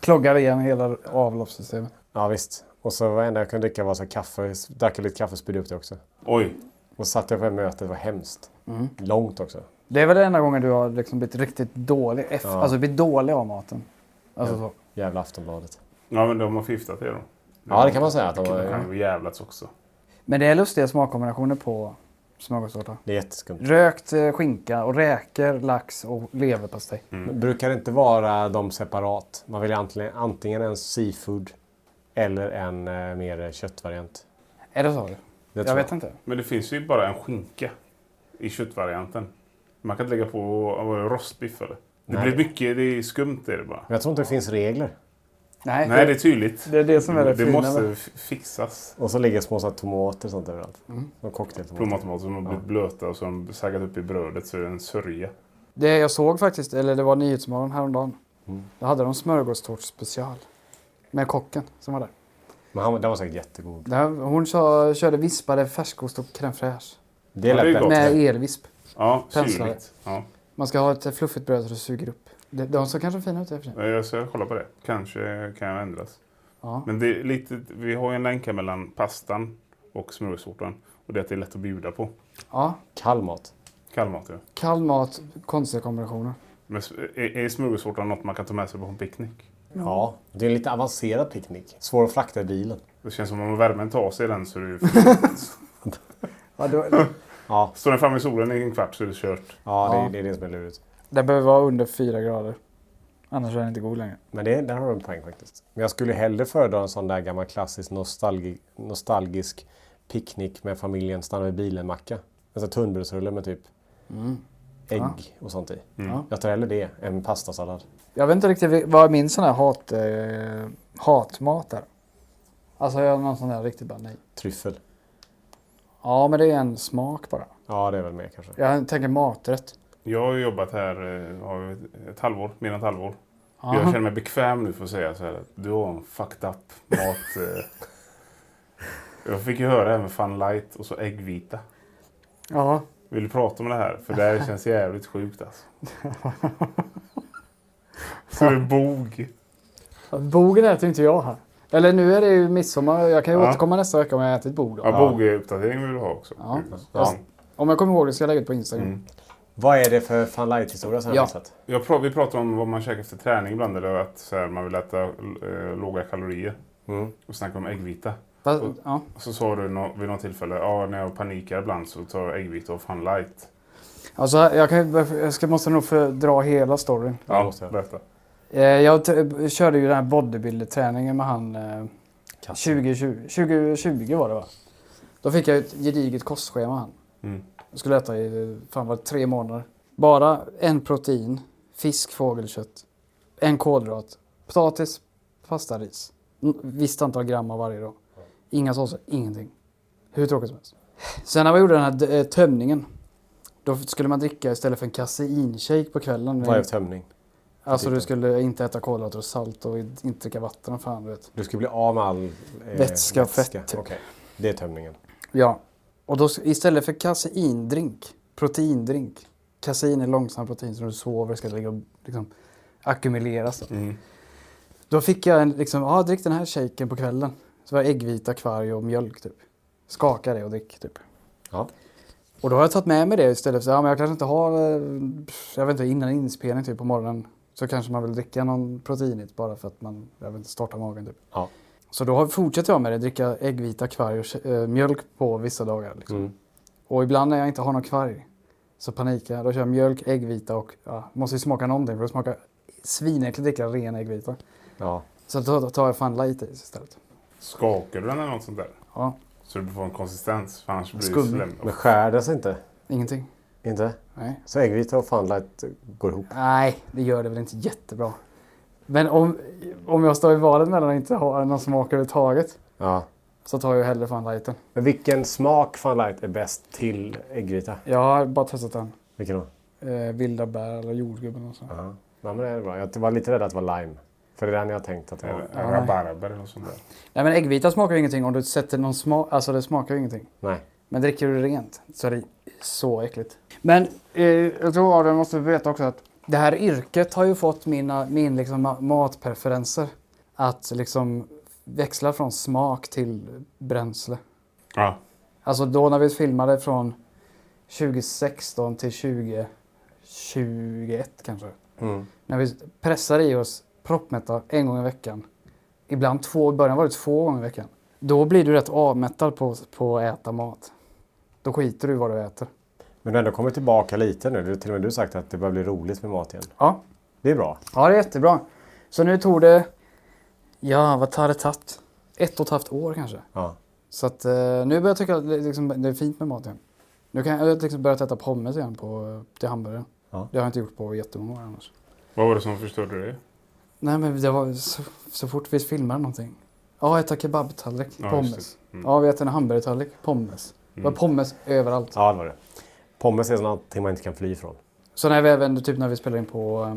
[SPEAKER 2] Kloggar igen hela avloppssystemet.
[SPEAKER 1] Ja visst. Och så var det enda jag kunde dricka var så här kaffe. Jag Drack lite kaffe och spydde upp det också.
[SPEAKER 3] Oj,
[SPEAKER 1] Och så satt jag på det här mötet. Det var hemskt. Långt också.
[SPEAKER 2] Det är väl den enda gången du har liksom blivit riktigt dålig, eff- alltså blivit dålig av maten. Alltså så.
[SPEAKER 1] Jävla Aftonbladet.
[SPEAKER 3] ja men de har fiftat det då.
[SPEAKER 1] Ja det kan man säga. Att de
[SPEAKER 3] De kan
[SPEAKER 1] var,
[SPEAKER 3] ju jävlats också.
[SPEAKER 2] Men det är lustiga smakkombinationer på smörgåstårta.
[SPEAKER 1] det är jätteskumt.
[SPEAKER 2] Rökt eh, skinka och räkor, lax och leverpastej.
[SPEAKER 1] Brukar det inte vara de separat? Man vill ju antingen, antingen en seafood eller en eh, mer köttvariant.
[SPEAKER 2] Är det så?
[SPEAKER 1] Det
[SPEAKER 2] jag
[SPEAKER 1] tror
[SPEAKER 2] vet inte.
[SPEAKER 3] Men det finns ju bara en skinka i köttvarianten. Man kan inte lägga på vad är det, rostbiff eller? Det
[SPEAKER 1] Nej.
[SPEAKER 3] blir mycket, det är skumt är det bara.
[SPEAKER 1] Men jag tror inte det finns regler.
[SPEAKER 2] Nej,
[SPEAKER 3] Nej, det är tydligt.
[SPEAKER 2] Det är det som är det fina
[SPEAKER 3] måste
[SPEAKER 2] med-
[SPEAKER 3] f- fixas.
[SPEAKER 1] Och så ligger små så här tomater och sånt överallt. Och cocktailtomater.
[SPEAKER 3] Plommontomater som har blivit blöta och som saggat upp i brödet så är det en sörja.
[SPEAKER 2] Det jag såg faktiskt, eller det var Nyhetsmorgon häromdagen. Då hade de smörgåstårtspecial. Med kocken som var där.
[SPEAKER 1] Men han, den var säkert jättegod.
[SPEAKER 2] Det här- Hon sa, körde vispade färskost och crème fraîche.
[SPEAKER 1] Det
[SPEAKER 3] det är
[SPEAKER 1] lät
[SPEAKER 3] gott.
[SPEAKER 1] bättre.
[SPEAKER 2] Med elvisp.
[SPEAKER 3] Ja,
[SPEAKER 2] Penslar.
[SPEAKER 3] syrligt. Ja.
[SPEAKER 2] Man ska ha ett fluffigt bröd så det suger upp. De, de såg kanske fina ut i och för sig.
[SPEAKER 3] Eh, Jag ska kolla på det. Kanske kan jag ändras.
[SPEAKER 2] Ja.
[SPEAKER 3] Men det är lite, vi har ju en länk här mellan pastan och smörgåstårtan. Och det är att det är lätt att bjuda på.
[SPEAKER 2] Ja,
[SPEAKER 1] Kall mat.
[SPEAKER 3] Kall mat. Ja.
[SPEAKER 2] kall mat, konstiga kombinationer.
[SPEAKER 3] Men s- är, är smörgåstårtan något man kan ta med sig på en picknick?
[SPEAKER 2] Mm.
[SPEAKER 1] Ja, det är en lite avancerad picknick. Svår att frakta i bilen.
[SPEAKER 3] Det känns som om värmen tar sig den så är det ju...
[SPEAKER 2] Ja, då,
[SPEAKER 1] Ja,
[SPEAKER 3] Står den framme i solen i en kvart så är det kört.
[SPEAKER 1] ja, Det,
[SPEAKER 2] Ja.
[SPEAKER 1] är- det är det som är lurigt.
[SPEAKER 2] den behöver vara under 4 grader. Annars är den inte god längre.
[SPEAKER 1] Men det, där har du en poäng faktiskt. Men jag skulle hellre föredra en sån där gammal klassisk nostalgi, nostalgisk picknick med familjen, stanna vid bilen-macka. En sån här tunnbrödsrulle med typ ägg och sånt i.
[SPEAKER 2] Mm. Ja.
[SPEAKER 1] Jag tar hellre det än pastasallad.
[SPEAKER 2] Jag vet inte riktigt vil- vad min sån här hat, eh, hatmat är. Alltså jag har någon sån där riktigt bara nej.
[SPEAKER 1] Tryffel.
[SPEAKER 2] Ja men det är en smak bara.
[SPEAKER 1] Ja, det är väl mer kanske.
[SPEAKER 2] Jag tänker maträtt.
[SPEAKER 3] Jag har ju jobbat här eh, har ett- ett halvår, mer än ett halvår. Jag känner mig bekväm nu för att säga så här. att Du har en fucked up mat. eh. jag fick ju höra det här med Fun Light och så äggvita.
[SPEAKER 2] Ja.
[SPEAKER 3] Vill du prata om det här? För det här känns jävligt sjukt alltså. Så det är bog.
[SPEAKER 2] Bogen äter ju inte jag här. Eller nu är det ju midsommar. Jag kan ju
[SPEAKER 3] Ja.
[SPEAKER 2] återkomma nästa vecka om jag har ätit bog då.
[SPEAKER 3] Ja, bog är uppdatering vill du ha också.
[SPEAKER 2] Ja.
[SPEAKER 3] Ja.
[SPEAKER 2] Om jag kommer ihåg det ska jag lägga ut på Instagram.
[SPEAKER 3] Mm.
[SPEAKER 1] Vad är det för fan light-historia som jag
[SPEAKER 2] Ja.
[SPEAKER 1] har missat?
[SPEAKER 3] Jag pra- vi pratar om vad man käkar efter träning ibland. Eller att så här, man vill äta eh, låga kalorier.
[SPEAKER 1] Mm.
[SPEAKER 3] Och snacka om äggvita.
[SPEAKER 2] Fast, ja.
[SPEAKER 3] Och så sa du nå- vid något tillfälle, ja när jag panikar ibland så tar jag äggvita och Fun Light.
[SPEAKER 2] Alltså, jag, kan, ju- jag ska, måste nog för- dra hela storyn.
[SPEAKER 1] det
[SPEAKER 3] Ja,
[SPEAKER 1] måste jag.
[SPEAKER 3] berätta.
[SPEAKER 2] Eh, jag t- körde ju den här bodybuilder-träningen med han eh, 2020, 2020 var det va? Då fick jag ett gediget kostschema han.
[SPEAKER 3] Mm.
[SPEAKER 2] Jag skulle äta i fan var det, tre månader. Bara en protein, fisk, fågelkött, en kolhydrat, potatis, pasta, ris. N- Visst antal gram av varje dag. Inga såser, ingenting. Hur tråkigt som helst. Sen när man gjorde den här d- eh, tömningen. Då skulle man dricka istället för en kaseinshake på kvällen.
[SPEAKER 1] Vad är tömning?
[SPEAKER 2] Alltså du skulle inte äta kolhydrater och salt och inte dricka vatten och fan du vet.
[SPEAKER 1] Du skulle bli av med all eh,
[SPEAKER 2] Vätska och fett, typ.
[SPEAKER 1] Okej. Det är tömningen.
[SPEAKER 2] Ja. Och då, istället för kaseindrink, proteindrink. Kasein är långsam protein som du sover ska ligga och liksom, ackumuleras. Då. då fick jag en, liksom, ja drick den här shaken på kvällen. Så var det äggvita, kvarg och mjölk typ. Skaka det och drick typ.
[SPEAKER 1] Ja.
[SPEAKER 2] Och då har jag tagit med mig det istället för att ja, men jag kanske inte har, eh, jag vet inte, innan inspelning typ på morgonen så kanske man vill dricka någon proteinigt bara för att man, jag vet inte, starta magen typ.
[SPEAKER 1] Ja.
[SPEAKER 2] Så då har- fortsätter jag med det, dricka äggvita, kvarg och eh, mjölk på vissa dagar. Liksom.
[SPEAKER 1] Mm.
[SPEAKER 2] Och ibland när jag inte har någon kvarg så panikar jag. Då kör jag mjölk, äggvita och ja, måste ju smaka någonting för det smakar svinäckligt att dricka ren äggvita.
[SPEAKER 1] Ja.
[SPEAKER 2] Så då tar jag fan light is istället.
[SPEAKER 3] Skakar du den eller något sånt där?
[SPEAKER 2] Ja,
[SPEAKER 3] Så du får en konsistens, för annars blir det
[SPEAKER 2] Skum.
[SPEAKER 3] slem.
[SPEAKER 1] Men skär det sig inte?
[SPEAKER 2] ingenting.
[SPEAKER 1] Inte?
[SPEAKER 2] Nej.
[SPEAKER 1] Så äggvita och fan light går ihop.
[SPEAKER 2] Nej, det gör det väl inte jättebra. Men om, om jag står i valet mellan att inte ha någon smak överhuvudtaget
[SPEAKER 1] Ja.
[SPEAKER 2] så tar jag hellre fan lighten.
[SPEAKER 1] Men vilken smak fan light är bäst till äggvita?
[SPEAKER 2] Jag har bara testat den.
[SPEAKER 1] Vilken då?
[SPEAKER 2] Eh, vilda bär eller jordgubben och så.
[SPEAKER 1] Ja. ja men det är bra. Jag var lite rädd att det var lime. För det är den jag har tänkt att det var.
[SPEAKER 3] Eller Rabarber eller något sånt där.
[SPEAKER 2] Nej men äggvita smakar ju ingenting om du sätter någon smak, alltså det smakar ju ingenting.
[SPEAKER 1] Nej.
[SPEAKER 2] Men dricker du rent så är det så äckligt. Men eh, jag tror Adrian måste veta också att det här yrket har ju fått mina min liksom ma- matpreferenser att liksom växla från smak till bränsle.
[SPEAKER 3] Ja.
[SPEAKER 2] Alltså då när vi filmade från 2016 till 2021 kanske. När vi pressade i oss proppmätta en gång i veckan. Ibland två, i början var det två gånger i veckan. Då blir du rätt avmättad på, på att äta mat. Då skiter du i vad du äter.
[SPEAKER 1] Men du har ändå kommit tillbaka lite nu. Det är till och med du sagt att det börjar bli roligt med mat igen.
[SPEAKER 2] Ja,
[SPEAKER 1] Det är bra.
[SPEAKER 2] ja det är jättebra. Så nu tog det, ja vad tar det tagit? Ett och ett halvt år kanske.
[SPEAKER 1] Ja.
[SPEAKER 2] Så att eh, nu börjar jag tycka att det, liksom, det är fint med mat igen. Nu kan jag, jag har liksom börjat äta pommes igen på, till hamburgaren.
[SPEAKER 1] Ja.
[SPEAKER 2] Det har jag inte gjort på jättemånga år annars.
[SPEAKER 3] Vad var det som förstörde det?
[SPEAKER 2] Nej men det var så, så fort vi filmade någonting. Ja, äta kebabtallrik,
[SPEAKER 3] Ja,
[SPEAKER 2] pommes.
[SPEAKER 3] just det. Mm.
[SPEAKER 2] Ja, vi äter en hamburgertallrik, pommes. Det var pommes överallt.
[SPEAKER 1] Mm. Ja, det var det. Pommes är någonting man inte kan fly ifrån.
[SPEAKER 2] Så när vi även, typ när vi spelade in på, eh,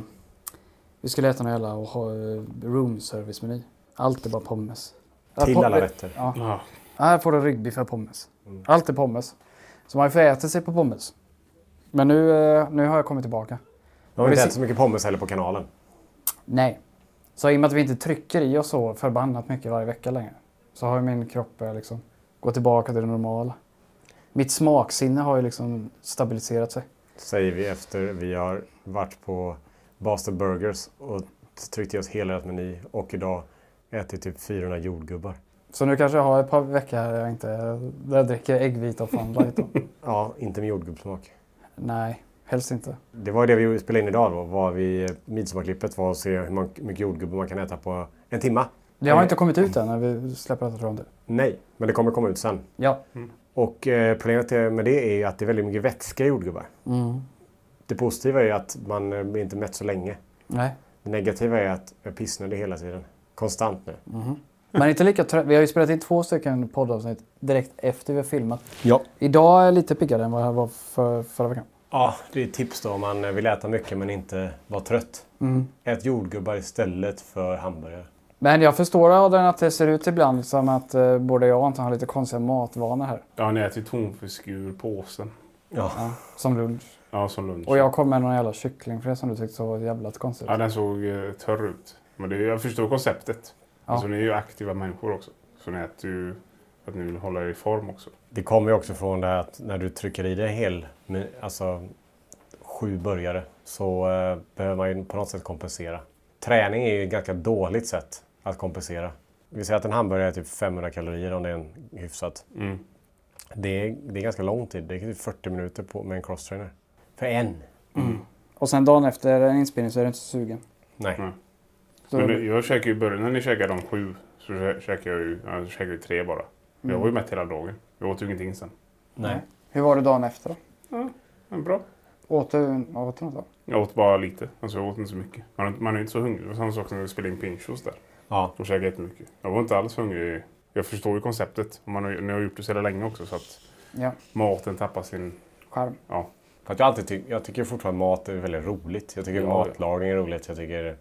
[SPEAKER 2] vi skulle äta någon jävla och ha eh, room service meny. Allt är bara pommes. Ja,
[SPEAKER 1] Till
[SPEAKER 2] pom-
[SPEAKER 1] alla rätter.
[SPEAKER 2] Ja.
[SPEAKER 3] Ja.
[SPEAKER 2] Här får du ryggbiff för pommes. Allt är pommes. Så man får äta sig på pommes. Men nu, eh, nu har jag kommit tillbaka.
[SPEAKER 1] De har
[SPEAKER 2] det
[SPEAKER 1] inte
[SPEAKER 2] ser-
[SPEAKER 1] ätit så mycket pommes heller på kanalen.
[SPEAKER 2] Nej. Så i och med att vi inte trycker i oss så förbannat mycket varje vecka längre så har ju min kropp börjat liksom gå tillbaka till det normala. Mitt smaksinne har ju liksom stabiliserat sig.
[SPEAKER 1] Säger vi efter vi har varit på Boston Burgers och tryckt i oss hela rätt meny och idag ätit typ 400 jordgubbar.
[SPEAKER 2] Så nu kanske jag har ett par veckor här jag inte där jag dricker äggvita och funlight. då.
[SPEAKER 1] Ja, inte med jordgubbssmak.
[SPEAKER 2] Nej, helst inte.
[SPEAKER 1] Det var det vi spelade in idag då, var vi midsommarklippet var att se hur man- mycket jordgubbar man kan äta på en timma.
[SPEAKER 2] Det har inte kommit ut än när vi släpper detta från det.
[SPEAKER 1] Nej, men det kommer komma ut sen.
[SPEAKER 2] Ja,
[SPEAKER 1] Och eh, problemet är- med det är ju att det är väldigt mycket vätska i jordgubbar. Det positiva är ju att man eh, blir inte mätt så länge.
[SPEAKER 2] nej.
[SPEAKER 1] Det negativa är att jag är pissnödig hela tiden. Konstant nu.
[SPEAKER 2] Men inte lika trött. Vi har ju spelat in två stycken poddavsnitt direkt efter vi har filmat.
[SPEAKER 1] Ja.
[SPEAKER 2] Idag är jag lite piggare än vad jag var för, förra veckan.
[SPEAKER 1] ja, det är ett tips då om man eh, vill äta mycket men inte vara trött. Ät jordgubbar istället för hamburgare.
[SPEAKER 2] Men jag förstår Adrian att det ser ut ibland som att eh, både jag och Anton har lite konstiga matvanor här.
[SPEAKER 3] Ja, ni äter ju tonfisk ur påsen.
[SPEAKER 1] Ja.
[SPEAKER 2] Som lunch.
[SPEAKER 3] Ja, som lunch.
[SPEAKER 2] Och jag kom med någon jävla kycklingfilé som du tyckte så var jävla konstigt.
[SPEAKER 3] Ja, den såg eh, törr ut. Men det, jag förstår konceptet. Alltså, ni är ju aktiva människor också. Så ni äter ju för att ni vill hålla er i form också.
[SPEAKER 1] Det kommer ju också från det här att när du trycker i dig hel, men- alltså sju burgare, så eh, behöver man ju på något sätt kompensera. Träning är ju ett ganska dåligt sätt att kompensera. Vi säger att en hamburgare är typ 500 kalorier om det är en hyfsat. Det, är, det är ganska lång tid, det är typ 40 minuter på, med en crosstrainer. För en?
[SPEAKER 2] Och sen dagen efter en inspelning så är du inte så sugen.
[SPEAKER 1] Nej.
[SPEAKER 2] Så
[SPEAKER 3] Men det, jag käkar ju i början, när ni käkade de sju, så kä- käkar jag ju, ja, jag käkar ju tre bara. Jag var ju mätt hela dagen. Jag åt ju ingenting sen.
[SPEAKER 1] Nej.
[SPEAKER 2] Hur var det dagen efter då?
[SPEAKER 3] Men bra.
[SPEAKER 2] Åt du, åt du något då?
[SPEAKER 3] Jag åt bara lite. Alltså jag åt inte så mycket. Man, man är ju inte så hungrig. Det var samma sak som när vi spelade in pinchos där.
[SPEAKER 1] Ja.
[SPEAKER 3] Då käkade jag jättemycket. Jag var inte alls hungrig. Jag förstår ju konceptet. Och Man har, ju- ni har gjort det så jävla länge också så att
[SPEAKER 2] Ja,
[SPEAKER 3] maten tappar sin...
[SPEAKER 2] skärm.
[SPEAKER 3] Ja.
[SPEAKER 1] För att jag, alltid ty- jag tycker fortfarande mat är väldigt roligt. Jag tycker
[SPEAKER 3] Ja,
[SPEAKER 1] matlagning är roligt. Jag tycker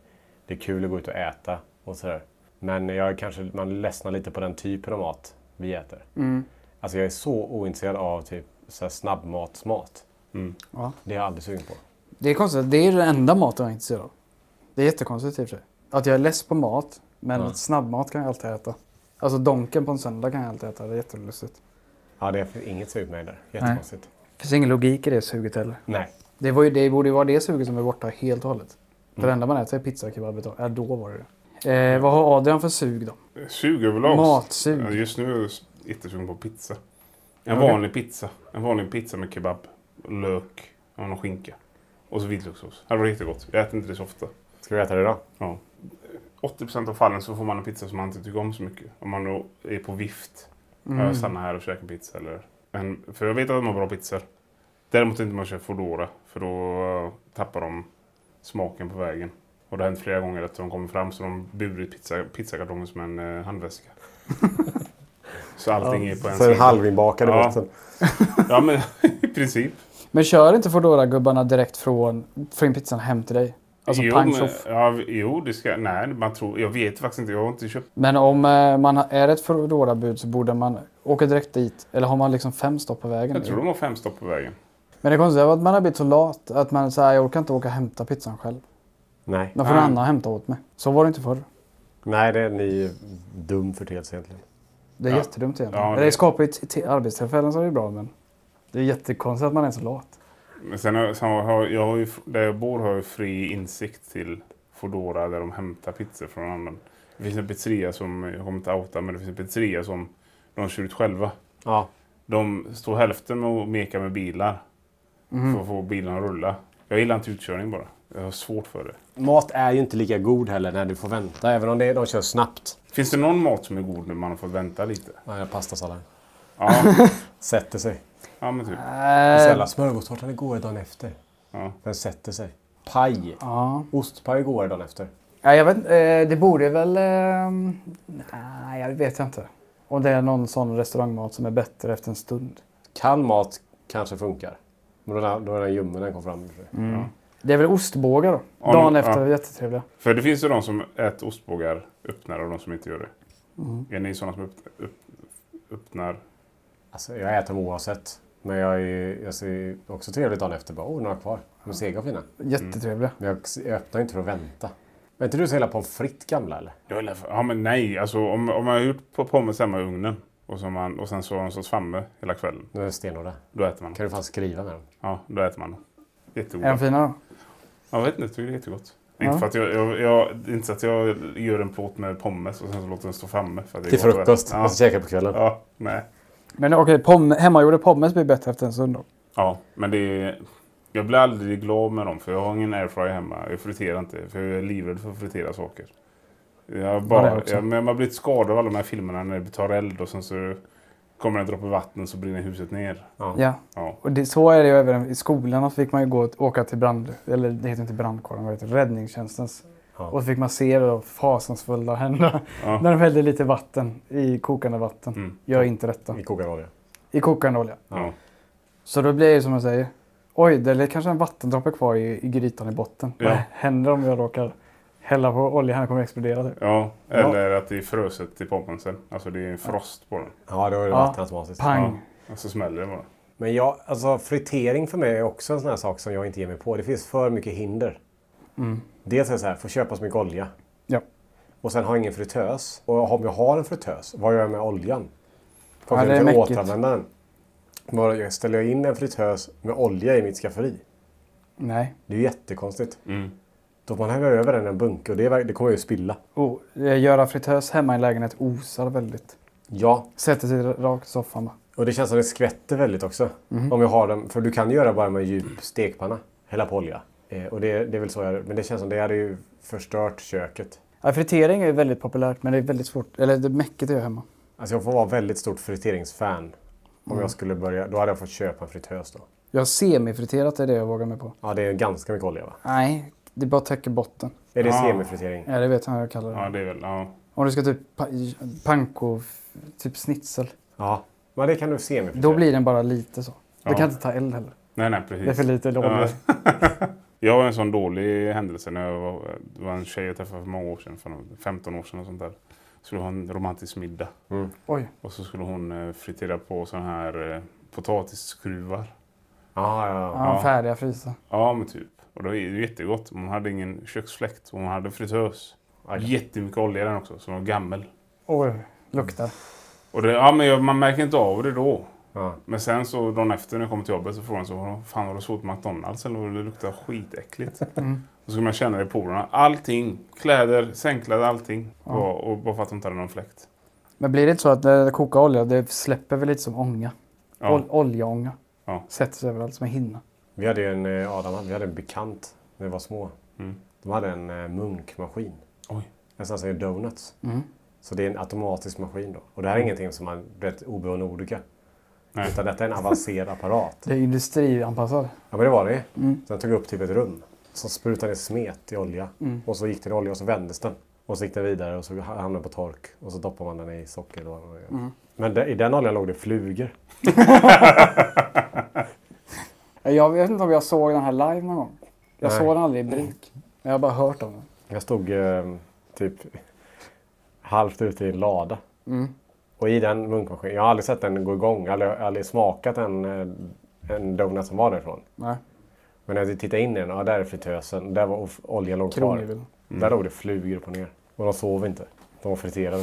[SPEAKER 1] det är kul att gå ut och äta och sådär. Men jag är kanske, man ledsnar lite på den typen av mat vi äter.
[SPEAKER 3] Mm.
[SPEAKER 1] Alltså jag är så ointresserad av typ så här snabbmatsmat.
[SPEAKER 3] Mm.
[SPEAKER 2] Ja.
[SPEAKER 1] Det är jag aldrig sugen på.
[SPEAKER 2] Det är konstigt, det är den enda maten jag är intresserad av. Det är jättekonstigt i och för sig. Att jag är less på mat, men snabbmat kan jag alltid äta. Alltså donken på en söndag kan jag alltid äta, det är jättelustigt.
[SPEAKER 1] Ja, det är inget sug med där. Jättekonstigt.
[SPEAKER 2] finns ingen logik i det suget heller.
[SPEAKER 1] Nej.
[SPEAKER 2] Det, var ju, det borde ju vara det suget som är borta helt och hållet. För det enda man äter är pizza och kebab. Ja, då var det det. Eh, vad har Adrian för sug då?
[SPEAKER 3] Sug överlag.
[SPEAKER 2] Matsug.
[SPEAKER 3] Ja, Just nu är jag s- jättesugen på pizza. En vanlig pizza. En vanlig pizza med kebab, lök och någon skinka. Och så vitlökssås. Det var jättegott. Jag äter inte det så ofta.
[SPEAKER 1] Ska vi äta det idag?
[SPEAKER 3] Ja. 80% av fallen så får man en pizza som man inte tycker om så mycket. Om man då är på vift. Jag stannar här och käkar en pizza. Eller en, för jag vet att de har bra pizzor. Däremot inte om man kör Foodora. För då eh, tappar de smaken på vägen. Och det har hänt flera gånger att de kommer fram så de burit pizza, pizzakartongen som en eh, handväska. så allting är på en
[SPEAKER 1] Så en
[SPEAKER 3] sida.
[SPEAKER 1] halvinbakad i
[SPEAKER 3] Ja.
[SPEAKER 1] botten.
[SPEAKER 3] Ja men i princip.
[SPEAKER 2] Men kör inte Foodora-gubbarna direkt från, från pizzan hem till dig? Alltså
[SPEAKER 3] jo,
[SPEAKER 2] pang
[SPEAKER 3] men,
[SPEAKER 2] tjoff.
[SPEAKER 3] ja, jo, det ska... Nej, man tror... Jag vet faktiskt inte. Jag har inte köpt...
[SPEAKER 2] Men om eh, man har- är ett Foodora-bud så borde man åka direkt dit. Eller har man liksom fem stopp på vägen?
[SPEAKER 3] Jag tror de har fem stopp på vägen.
[SPEAKER 2] Men det konstiga är att man har blivit så lat att man säger jag orkar inte åka och hämta pizzan själv.
[SPEAKER 1] Nej.
[SPEAKER 2] Den får någon annan hämta åt mig. Så var det inte förr.
[SPEAKER 1] Nej, det är en ny dum företeelse egentligen.
[SPEAKER 2] Det är jättedumt egentligen.
[SPEAKER 3] Ja,
[SPEAKER 2] det
[SPEAKER 3] det-
[SPEAKER 2] skapar ju t- t- arbetstillfällen så det är bra men det är jättekonstigt att man är så lat.
[SPEAKER 3] Men sen, har- sen har jag har ju, där jag bor har jag ju fri insikt till Foodora där de hämtar pizzor från annan. Det finns en pizzeria som, jag kommer inte outa, men det finns en pizzeria som de kör ut själva.
[SPEAKER 1] Ja.
[SPEAKER 3] De står hälften och mekar med bilar för att få bilarna att rulla. Jag gillar inte utkörning bara. Jag har svårt för det.
[SPEAKER 1] Mat är ju inte lika god heller när du får vänta, även om det är, de kör snabbt.
[SPEAKER 3] Finns det någon mat som är god när man har fått vänta lite?
[SPEAKER 1] Ja, pastasallad.
[SPEAKER 3] Ja,
[SPEAKER 1] Sätter sig.
[SPEAKER 3] ja men typ.
[SPEAKER 2] Äh.
[SPEAKER 1] Sällan smörgåstårtan är godare dagen efter.
[SPEAKER 3] Ja.
[SPEAKER 1] Den sätter sig. Paj. Ostpaj är godare dagen efter.
[SPEAKER 2] Ja, jag vet, inte, eh, det borde väl... Eh, nej, jag vet inte. Om det är någon sån restaurangmat som är bättre efter en stund.
[SPEAKER 1] Kall mat kanske funkar. Men då är den- då är den ljummen när den kommer fram.
[SPEAKER 2] Mm. Det är väl ostbågar då? Dagen efter, är jättetrevliga.
[SPEAKER 3] För det finns ju de som äter ostbågar öppnar och de som inte gör det. Är ni sådana som upp, upp, öppnar?
[SPEAKER 1] Alltså, jag äter dem oavsett. Men jag, är, jag ser också
[SPEAKER 2] Mm.
[SPEAKER 1] trevligt dagen efter. Bara, åh, några kvar. De är sega och fina.
[SPEAKER 2] Jättetrevliga.
[SPEAKER 1] Men jag, jag öppnar inte för att vänta. Men inte du så hela pommes frites gamla eller?
[SPEAKER 3] Jag är lätt- Ja, men nej, alltså om, om man har gjort på pommes hemma i ugnen och, så man, och sen så har man så svamme hela kvällen,
[SPEAKER 1] Nu är det stenhårda.
[SPEAKER 3] då äter man.
[SPEAKER 1] Kan du fan skriva med dem?
[SPEAKER 3] Ja, då äter man.
[SPEAKER 2] Är de
[SPEAKER 3] Jättegoda.
[SPEAKER 2] fina då?
[SPEAKER 3] Jag vet inte, jag tycker det är jättegott. Inte, för att jag, jag, jag, det är inte så att jag gör en plåt med pommes och sen så låter den stå framme. För att det är
[SPEAKER 1] Till
[SPEAKER 3] gott att äta.
[SPEAKER 1] frukost. Alltså,
[SPEAKER 3] Ja,
[SPEAKER 1] Och så käkar på kvällen.
[SPEAKER 3] ja, nej.
[SPEAKER 2] Men okej, pomme, hemmagjorda pommes blir bättre efter en stund då.
[SPEAKER 3] Ja, men det är... Jag blir aldrig glad med dem för jag har ingen airfryer hemma. Jag friterar inte för jag är livrädd för att fritera saker. Jag
[SPEAKER 2] det är
[SPEAKER 3] bara,
[SPEAKER 2] jag också.
[SPEAKER 3] jag, men man har blivit skadad av alla de här filmerna när det tar eld och sen så kommer en droppe vatten så brinner huset ner.
[SPEAKER 2] Ja.
[SPEAKER 3] Ja.
[SPEAKER 2] Och det, så är det ju även i skolan. Så fick man ju gå och åka till brand... Eller det heter inte brandkåren, vad heter det? Räddningstjänstens. Och så fick man se det då, fasansfulla hända.
[SPEAKER 3] Ja.
[SPEAKER 2] När de hällde lite vatten i kokande vatten.
[SPEAKER 3] Mm.
[SPEAKER 2] Gör inte detta.
[SPEAKER 1] I kokande olja.
[SPEAKER 2] I kokande olja.
[SPEAKER 3] Ja.
[SPEAKER 2] Så då blir det ju som jag säger. Oj, det är kanske en vattendroppe kvar i, i grytan i botten.
[SPEAKER 3] Ja.
[SPEAKER 2] Vad händer om jag råkar hälla på olja? Den kommer att explodera. Typ.
[SPEAKER 3] ja, eller att det är fröset i pommesen. Alltså det är en frost på den.
[SPEAKER 1] Ja, då är det
[SPEAKER 2] Ja.
[SPEAKER 1] vatten automatiskt.
[SPEAKER 2] Pang!
[SPEAKER 3] Och så smäller det bara.
[SPEAKER 1] Men jag, alltså, fritering för mig är också en sån här sak som jag inte ger mig på. Det finns för mycket hinder.
[SPEAKER 2] Mm.
[SPEAKER 1] Dels är det så här, får köpa så mycket olja.
[SPEAKER 2] Ja.
[SPEAKER 1] Och sen har jag ingen fritös. Och om jag har en fritös, vad gör jag med oljan?
[SPEAKER 2] Ja,
[SPEAKER 1] Kommer
[SPEAKER 2] det är
[SPEAKER 1] jag inte
[SPEAKER 2] mäckigt.
[SPEAKER 1] återanvända den? Vad gör jag? Ställer jag in en fritös med olja i mitt skafferi?
[SPEAKER 2] Nej.
[SPEAKER 1] Det är ju jättekonstigt.
[SPEAKER 2] Mm.
[SPEAKER 1] Då får man häver över den i en bunke och det, är verk- det kommer jag ju spilla.
[SPEAKER 2] Oh, eh, göra fritös hemma i en lägenhet osar väldigt.
[SPEAKER 1] Ja,
[SPEAKER 2] Sätter sig rakt i soffan bara.
[SPEAKER 1] och det känns som det skvätter väldigt också.
[SPEAKER 2] Mhm.
[SPEAKER 1] Om jag har den, för du kan ju göra bara med en djup stekpanna. Hälla på olja. Eh, och det, det är väl så jag, men det känns som det hade ju förstört köket.
[SPEAKER 2] Ja, fritering är ju väldigt populärt men det är väldigt svårt. Eller det är mäckigt att göra hemma.
[SPEAKER 1] Alltså jag får vara väldigt stort friteringsfan. Om
[SPEAKER 2] Mm.
[SPEAKER 1] jag skulle börja, då hade jag fått köpa en fritös då.
[SPEAKER 2] Jag har semifriterat är det jag vågar mig på.
[SPEAKER 1] Ja, det är ganska mycket olja va?
[SPEAKER 2] Nej, det bara täcker botten.
[SPEAKER 1] Är det
[SPEAKER 3] Ah.
[SPEAKER 1] semifritering?
[SPEAKER 2] Ja, det vet jag vad jag kallar det.
[SPEAKER 3] Ja, det är väl... Ja.
[SPEAKER 2] Om du ska typ pa- panko, f- typ schnitzel.
[SPEAKER 1] Ja. Men det kan du semifritera.
[SPEAKER 2] Då blir den bara lite så. Det
[SPEAKER 3] Ja.
[SPEAKER 2] kan inte ta eld heller.
[SPEAKER 3] Nej, nej, precis.
[SPEAKER 2] Det är för lite olja.
[SPEAKER 3] Jag har en sån dålig händelse när jag var, det var en tjej jag träffade för många år sedan, fan, 15 år sedan och sånt där. Skulle ha en romantisk middag
[SPEAKER 2] Oj.
[SPEAKER 3] och så skulle hon eh, fritera på sån här eh, potatisskruvar.
[SPEAKER 1] Ja, ja, ja.
[SPEAKER 2] Ja, färdiga frysa.
[SPEAKER 3] Ja, men typ. Och det var ju jättegott. Men Hon hade ingen köksfläkt och hon hade fritös. Jättemycket olja i den också, som var gammal.
[SPEAKER 2] Oj, luktar.
[SPEAKER 3] Och det, ja, men jag, man märker inte av det då.
[SPEAKER 1] Ja.
[SPEAKER 3] Men sen så dagen efter när jag kom till jobbet så frågade hon så "Vad Fan har du svårt med McDonalds eller vad det luktar skitäckligt.
[SPEAKER 1] Mm.
[SPEAKER 3] Och så kunde man känna det i porerna. Allting, kläder, sängkläder, allting. Var, och bara för att hon inte hade någon fläkt.
[SPEAKER 2] Men blir det inte så att när det kokar olja, det släpper väl lite som ånga?
[SPEAKER 3] Ja.
[SPEAKER 2] Ol- oljeånga.
[SPEAKER 3] Ja.
[SPEAKER 2] Sätter sig överallt som en hinna.
[SPEAKER 1] Vi hade ju en, eh, Adam, vi hade en bekant när vi var små.
[SPEAKER 2] Mm.
[SPEAKER 1] De hade en eh, munkmaskin.
[SPEAKER 3] Oj.
[SPEAKER 1] En sån som gör donuts. Så det är en automatisk maskin då. Och det här är ingenting som man vet obehörig olycka.
[SPEAKER 3] Nej.
[SPEAKER 1] Utan detta är en avancerad apparat.
[SPEAKER 2] Det är industrianpassad.
[SPEAKER 1] Ja men det var det Sen tog jag upp typ ett rum. Så sprutade den smet i olja. Och så gick den i olja och så vändes den. Och så gick den vidare och så hamnade den på tork. Och så doppade man den i socker. Då. Men där- i den oljan låg det flugor.
[SPEAKER 2] Jag vet inte om jag såg den här live någon gång. Jag
[SPEAKER 1] Nej.
[SPEAKER 2] såg den aldrig i bruk. Men jag har bara hört om den.
[SPEAKER 1] Jag stod eh, typ halvt ute i en lada. Och i den munkmaskinen, jag har aldrig sett den gå igång, aldrig, aldrig smakat en, eh, en donut som var därifrån.
[SPEAKER 2] Nej.
[SPEAKER 1] Men när jag tittade in i den, ja där är fritösen, där var of- oljan låg kvar.
[SPEAKER 2] Kronjuvel.
[SPEAKER 1] Där låg det flugor upp och ner. Och de sov inte. De var friterade.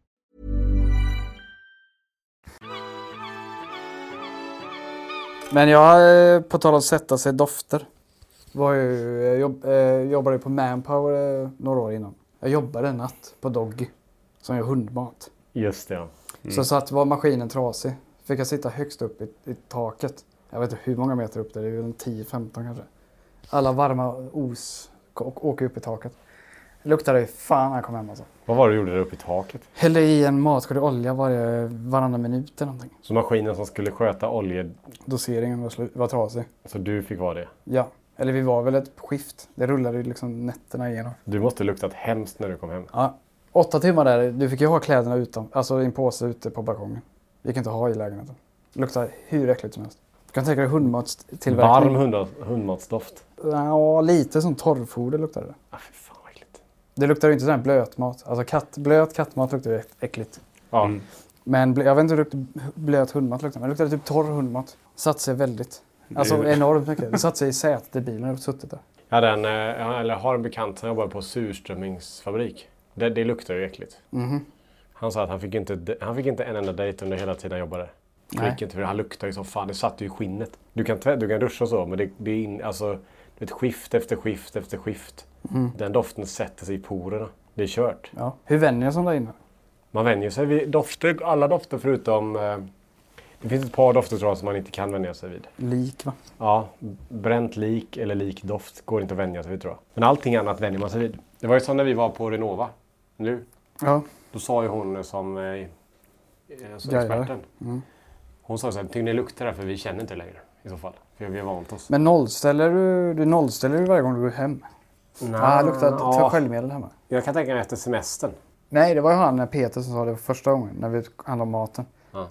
[SPEAKER 2] Men jag, eh, på tal om att sätta sig i dofter. Var ju, jag jobb, eh, jobbade på Manpower eh, några år innan. Jag jobbade en natt på Doggy som gör hundmat.
[SPEAKER 1] Just det. ja.
[SPEAKER 2] Så satt var maskinen trasig. Fick jag sitta högst upp i, i taket. Jag vet inte hur många meter upp det är, det är väl en 10-15 kanske. Alla varma os å- åker upp i taket. Luktade ju fan när jag kom hem alltså.
[SPEAKER 1] Vad var det du gjorde där uppe i taket?
[SPEAKER 2] Hällde i en matsked olja varje, varannan minut eller någonting.
[SPEAKER 1] Så maskinen som skulle sköta oljor,
[SPEAKER 2] Doseringen var, slu- var trasig.
[SPEAKER 1] så du fick vara det.
[SPEAKER 2] Ja, eller vi var väl ett skift. Det rullade ju liksom nätterna igenom.
[SPEAKER 1] Du måste luktat hemskt när du kom hem.
[SPEAKER 2] Ja. Åtta timmar där, du fick ju ha kläderna utan, alltså i en påse ute på balkongen. Vi kan inte ha i lägenheten. Luktar hur äckligt som helst. Du kan tänka dig
[SPEAKER 1] Varm
[SPEAKER 2] hundmatstillverkning.
[SPEAKER 1] hund- hundmatsdoft.
[SPEAKER 2] Ja, lite som torrfoder luktar det.
[SPEAKER 1] Ah, fy fan vad äckligt.
[SPEAKER 2] Det luktar ju inte sån här blötmat. Alltså katt, blöt kattmat luktar ju äck- äckligt.
[SPEAKER 1] Ja.
[SPEAKER 2] Men blö, jag vet inte hur lukt- blöt hundmat luktar, men det luktar typ torr hundmat. Satt sig väldigt. Alltså
[SPEAKER 3] Det-
[SPEAKER 2] enormt mycket. Det satt sig i sätet i bilen och suttit där.
[SPEAKER 1] Jag hade en, eh, eller har en bekant som jobbar på surströmmingsfabrik. Det, det luktar ju äckligt. Han sa att han fick, inte, han fick inte en enda dejt under hela tiden han jobbade. Det gick inte för han luktade ju som fan. Det satt ju i skinnet. Du kan, tvä- du kan duscha och så, men det, det är in, alltså, du vet, skift efter skift efter skift. Den doften sätter sig i porerna. Det är kört.
[SPEAKER 2] Ja. Hur vänjer jag sig där inne?
[SPEAKER 1] Man vänjer sig vid dofter, alla dofter förutom... Eh, det finns ett par dofter tror jag som man inte kan vänja sig vid.
[SPEAKER 2] Lik va?
[SPEAKER 1] Ja, bränt lik eller likdoft går inte att vänja sig vid tror jag. Men allting annat vänjer man sig vid. Det var ju som när vi var på Renova nu.
[SPEAKER 2] Ja.
[SPEAKER 1] Då sa ju hon som eh, alltså
[SPEAKER 2] Jajamän.
[SPEAKER 1] experten.
[SPEAKER 2] Mm.
[SPEAKER 1] Hon sa så här, tycker ni det luktar där för vi känner inte längre i så fall. För vi har vant oss.
[SPEAKER 2] Men nollställer du, du nollställer du varje gång du går hem?
[SPEAKER 1] Nej,
[SPEAKER 2] Ah, luktar ja. sköljmedel hemma.
[SPEAKER 1] Jag kan tänka mig efter semestern.
[SPEAKER 2] Nej, det var ju han Peter som sa det första gången när vi handlade om maten.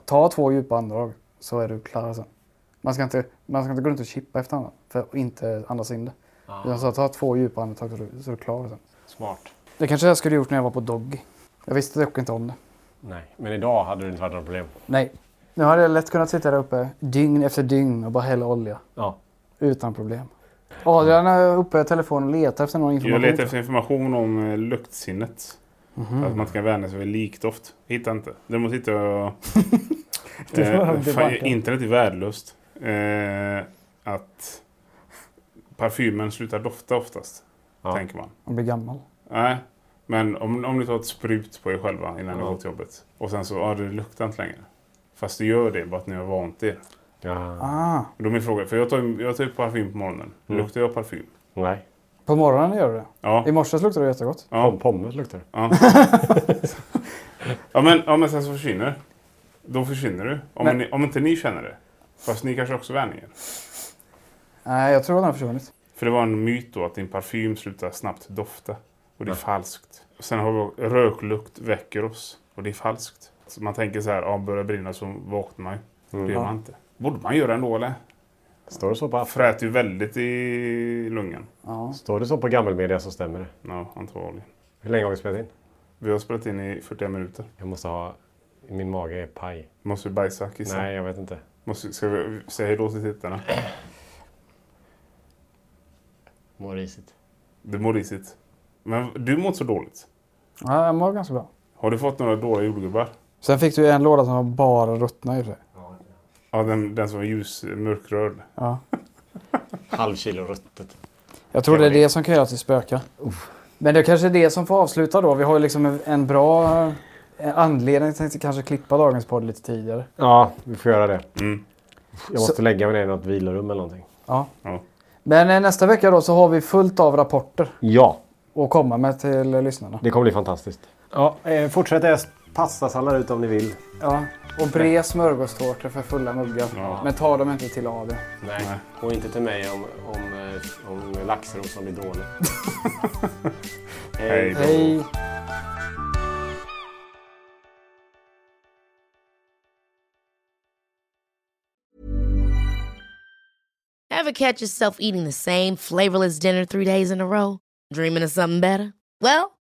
[SPEAKER 2] Ta två djupa andetag så är du klar sen. Man ska inte, man ska inte gå runt och chippa efter andra för att inte andas in det. Utan så ta två djupa andetag så, du- så är du klar sen.
[SPEAKER 1] Smart.
[SPEAKER 2] Det kanske jag skulle gjort när jag var på Doggy. Jag visste dock inte om det.
[SPEAKER 1] Nej, men idag hade det inte varit några problem.
[SPEAKER 2] Nej. Nu hade jag lätt kunnat sitta där uppe dygn efter dygn och bara hälla olja.
[SPEAKER 1] Ja.
[SPEAKER 2] Utan problem. Adrian är uppe i telefonen och Mm. letar efter någon
[SPEAKER 3] Jag
[SPEAKER 2] information.
[SPEAKER 3] letar efter information om eh, luktsinnet.
[SPEAKER 1] Mhm.
[SPEAKER 3] Att man ska vänja sig vid likdoft. Hittar inte. Däremot hittar jag... eh, fan, internet är värdelöst. Eh, att parfymen slutar dofta oftast.
[SPEAKER 1] Ja.
[SPEAKER 3] Tänker man.
[SPEAKER 2] Han blir gammal.
[SPEAKER 3] Nej. Men om, om ni tar ett sprut på er själva innan ni går till jobbet. Och sen så, ja det luktar inte längre. Fast det gör det, bara att ni har vant er.
[SPEAKER 1] Ja.
[SPEAKER 2] Ah,
[SPEAKER 3] Då är min fråga, för jag tar ju jag tar ju parfym på morgonen. Luktar jag parfym?
[SPEAKER 1] Nej.
[SPEAKER 2] på morgonen gör du Mm. det.
[SPEAKER 3] Ja.
[SPEAKER 2] I morse luktade det jättegott.
[SPEAKER 1] Ja. Pommes luktar det.
[SPEAKER 3] Ja men, ja, men sen så försvinner det. Då försvinner du. Om,
[SPEAKER 2] Men-
[SPEAKER 3] ni, om inte ni känner det. Fast ni kanske också vänjer er.
[SPEAKER 2] Nej, jag tror att den har försvunnit.
[SPEAKER 3] För det var en myt då att din parfym slutar snabbt dofta. Och det är falskt. Och sen har vi röklukt väcker oss. Och det är falskt. Så man tänker så här, ja börjar brinna så vaknar man ju.
[SPEAKER 1] Mm.
[SPEAKER 3] Det gör man inte. Borde man göra ändå eller?
[SPEAKER 1] Står det så på,
[SPEAKER 3] Frät ju väldigt i lungan.
[SPEAKER 1] står det så på gammelmedia så stämmer det.
[SPEAKER 3] Ja, antagligen.
[SPEAKER 1] Hur länge har vi spelat in?
[SPEAKER 3] Vi har spelat in i 41 minuter.
[SPEAKER 1] Jag måste ha... Min mage är paj.
[SPEAKER 3] Måste vi bajsa, kissa?
[SPEAKER 1] Nej, jag vet inte.
[SPEAKER 3] Måste, ska vi säga hejdå till tittarna?
[SPEAKER 1] Mår risigt.
[SPEAKER 3] Det mår risigt. Men du mår inte så dåligt.
[SPEAKER 2] Ja, jag mår ganska bra.
[SPEAKER 3] Har du fått några dåliga jordgubbar?
[SPEAKER 2] Sen fick du en låda som var bara ruttna i sig.
[SPEAKER 3] Ja, den, den som var ljus, mörkröd.
[SPEAKER 1] Halv kilo ruttet.
[SPEAKER 2] Jag tror det är det som kan göra att vi spökar. Men det är kanske är det som får avsluta då. Vi har ju liksom en- en bra eh, anledning till att kanske klippa dagens podd lite tidigare.
[SPEAKER 1] Ja, vi får göra det.
[SPEAKER 3] Mm.
[SPEAKER 1] Jag måste lägga mig ner i något vilorum eller någonting.
[SPEAKER 2] Ja.
[SPEAKER 3] Ja.
[SPEAKER 2] Men eh, nästa vecka då så har vi fullt av rapporter
[SPEAKER 1] Ja,
[SPEAKER 2] att komma med till eh, lyssnarna.
[SPEAKER 1] det kommer bli fantastiskt. Ja, eh, fortsätt äta pastasallad ut om ni vill.
[SPEAKER 2] Ja. Och bred smörgåstårta för fulla muggar. Men ta dem inte till Adrian.
[SPEAKER 1] Nej. Och inte till mig om, om, eh, om laxrosan blir dålig.
[SPEAKER 3] Hej då.
[SPEAKER 2] Hej!
[SPEAKER 5] Ever catch yourself eating the same flavorless dinner three days in a row? Dreaming of something better? Well,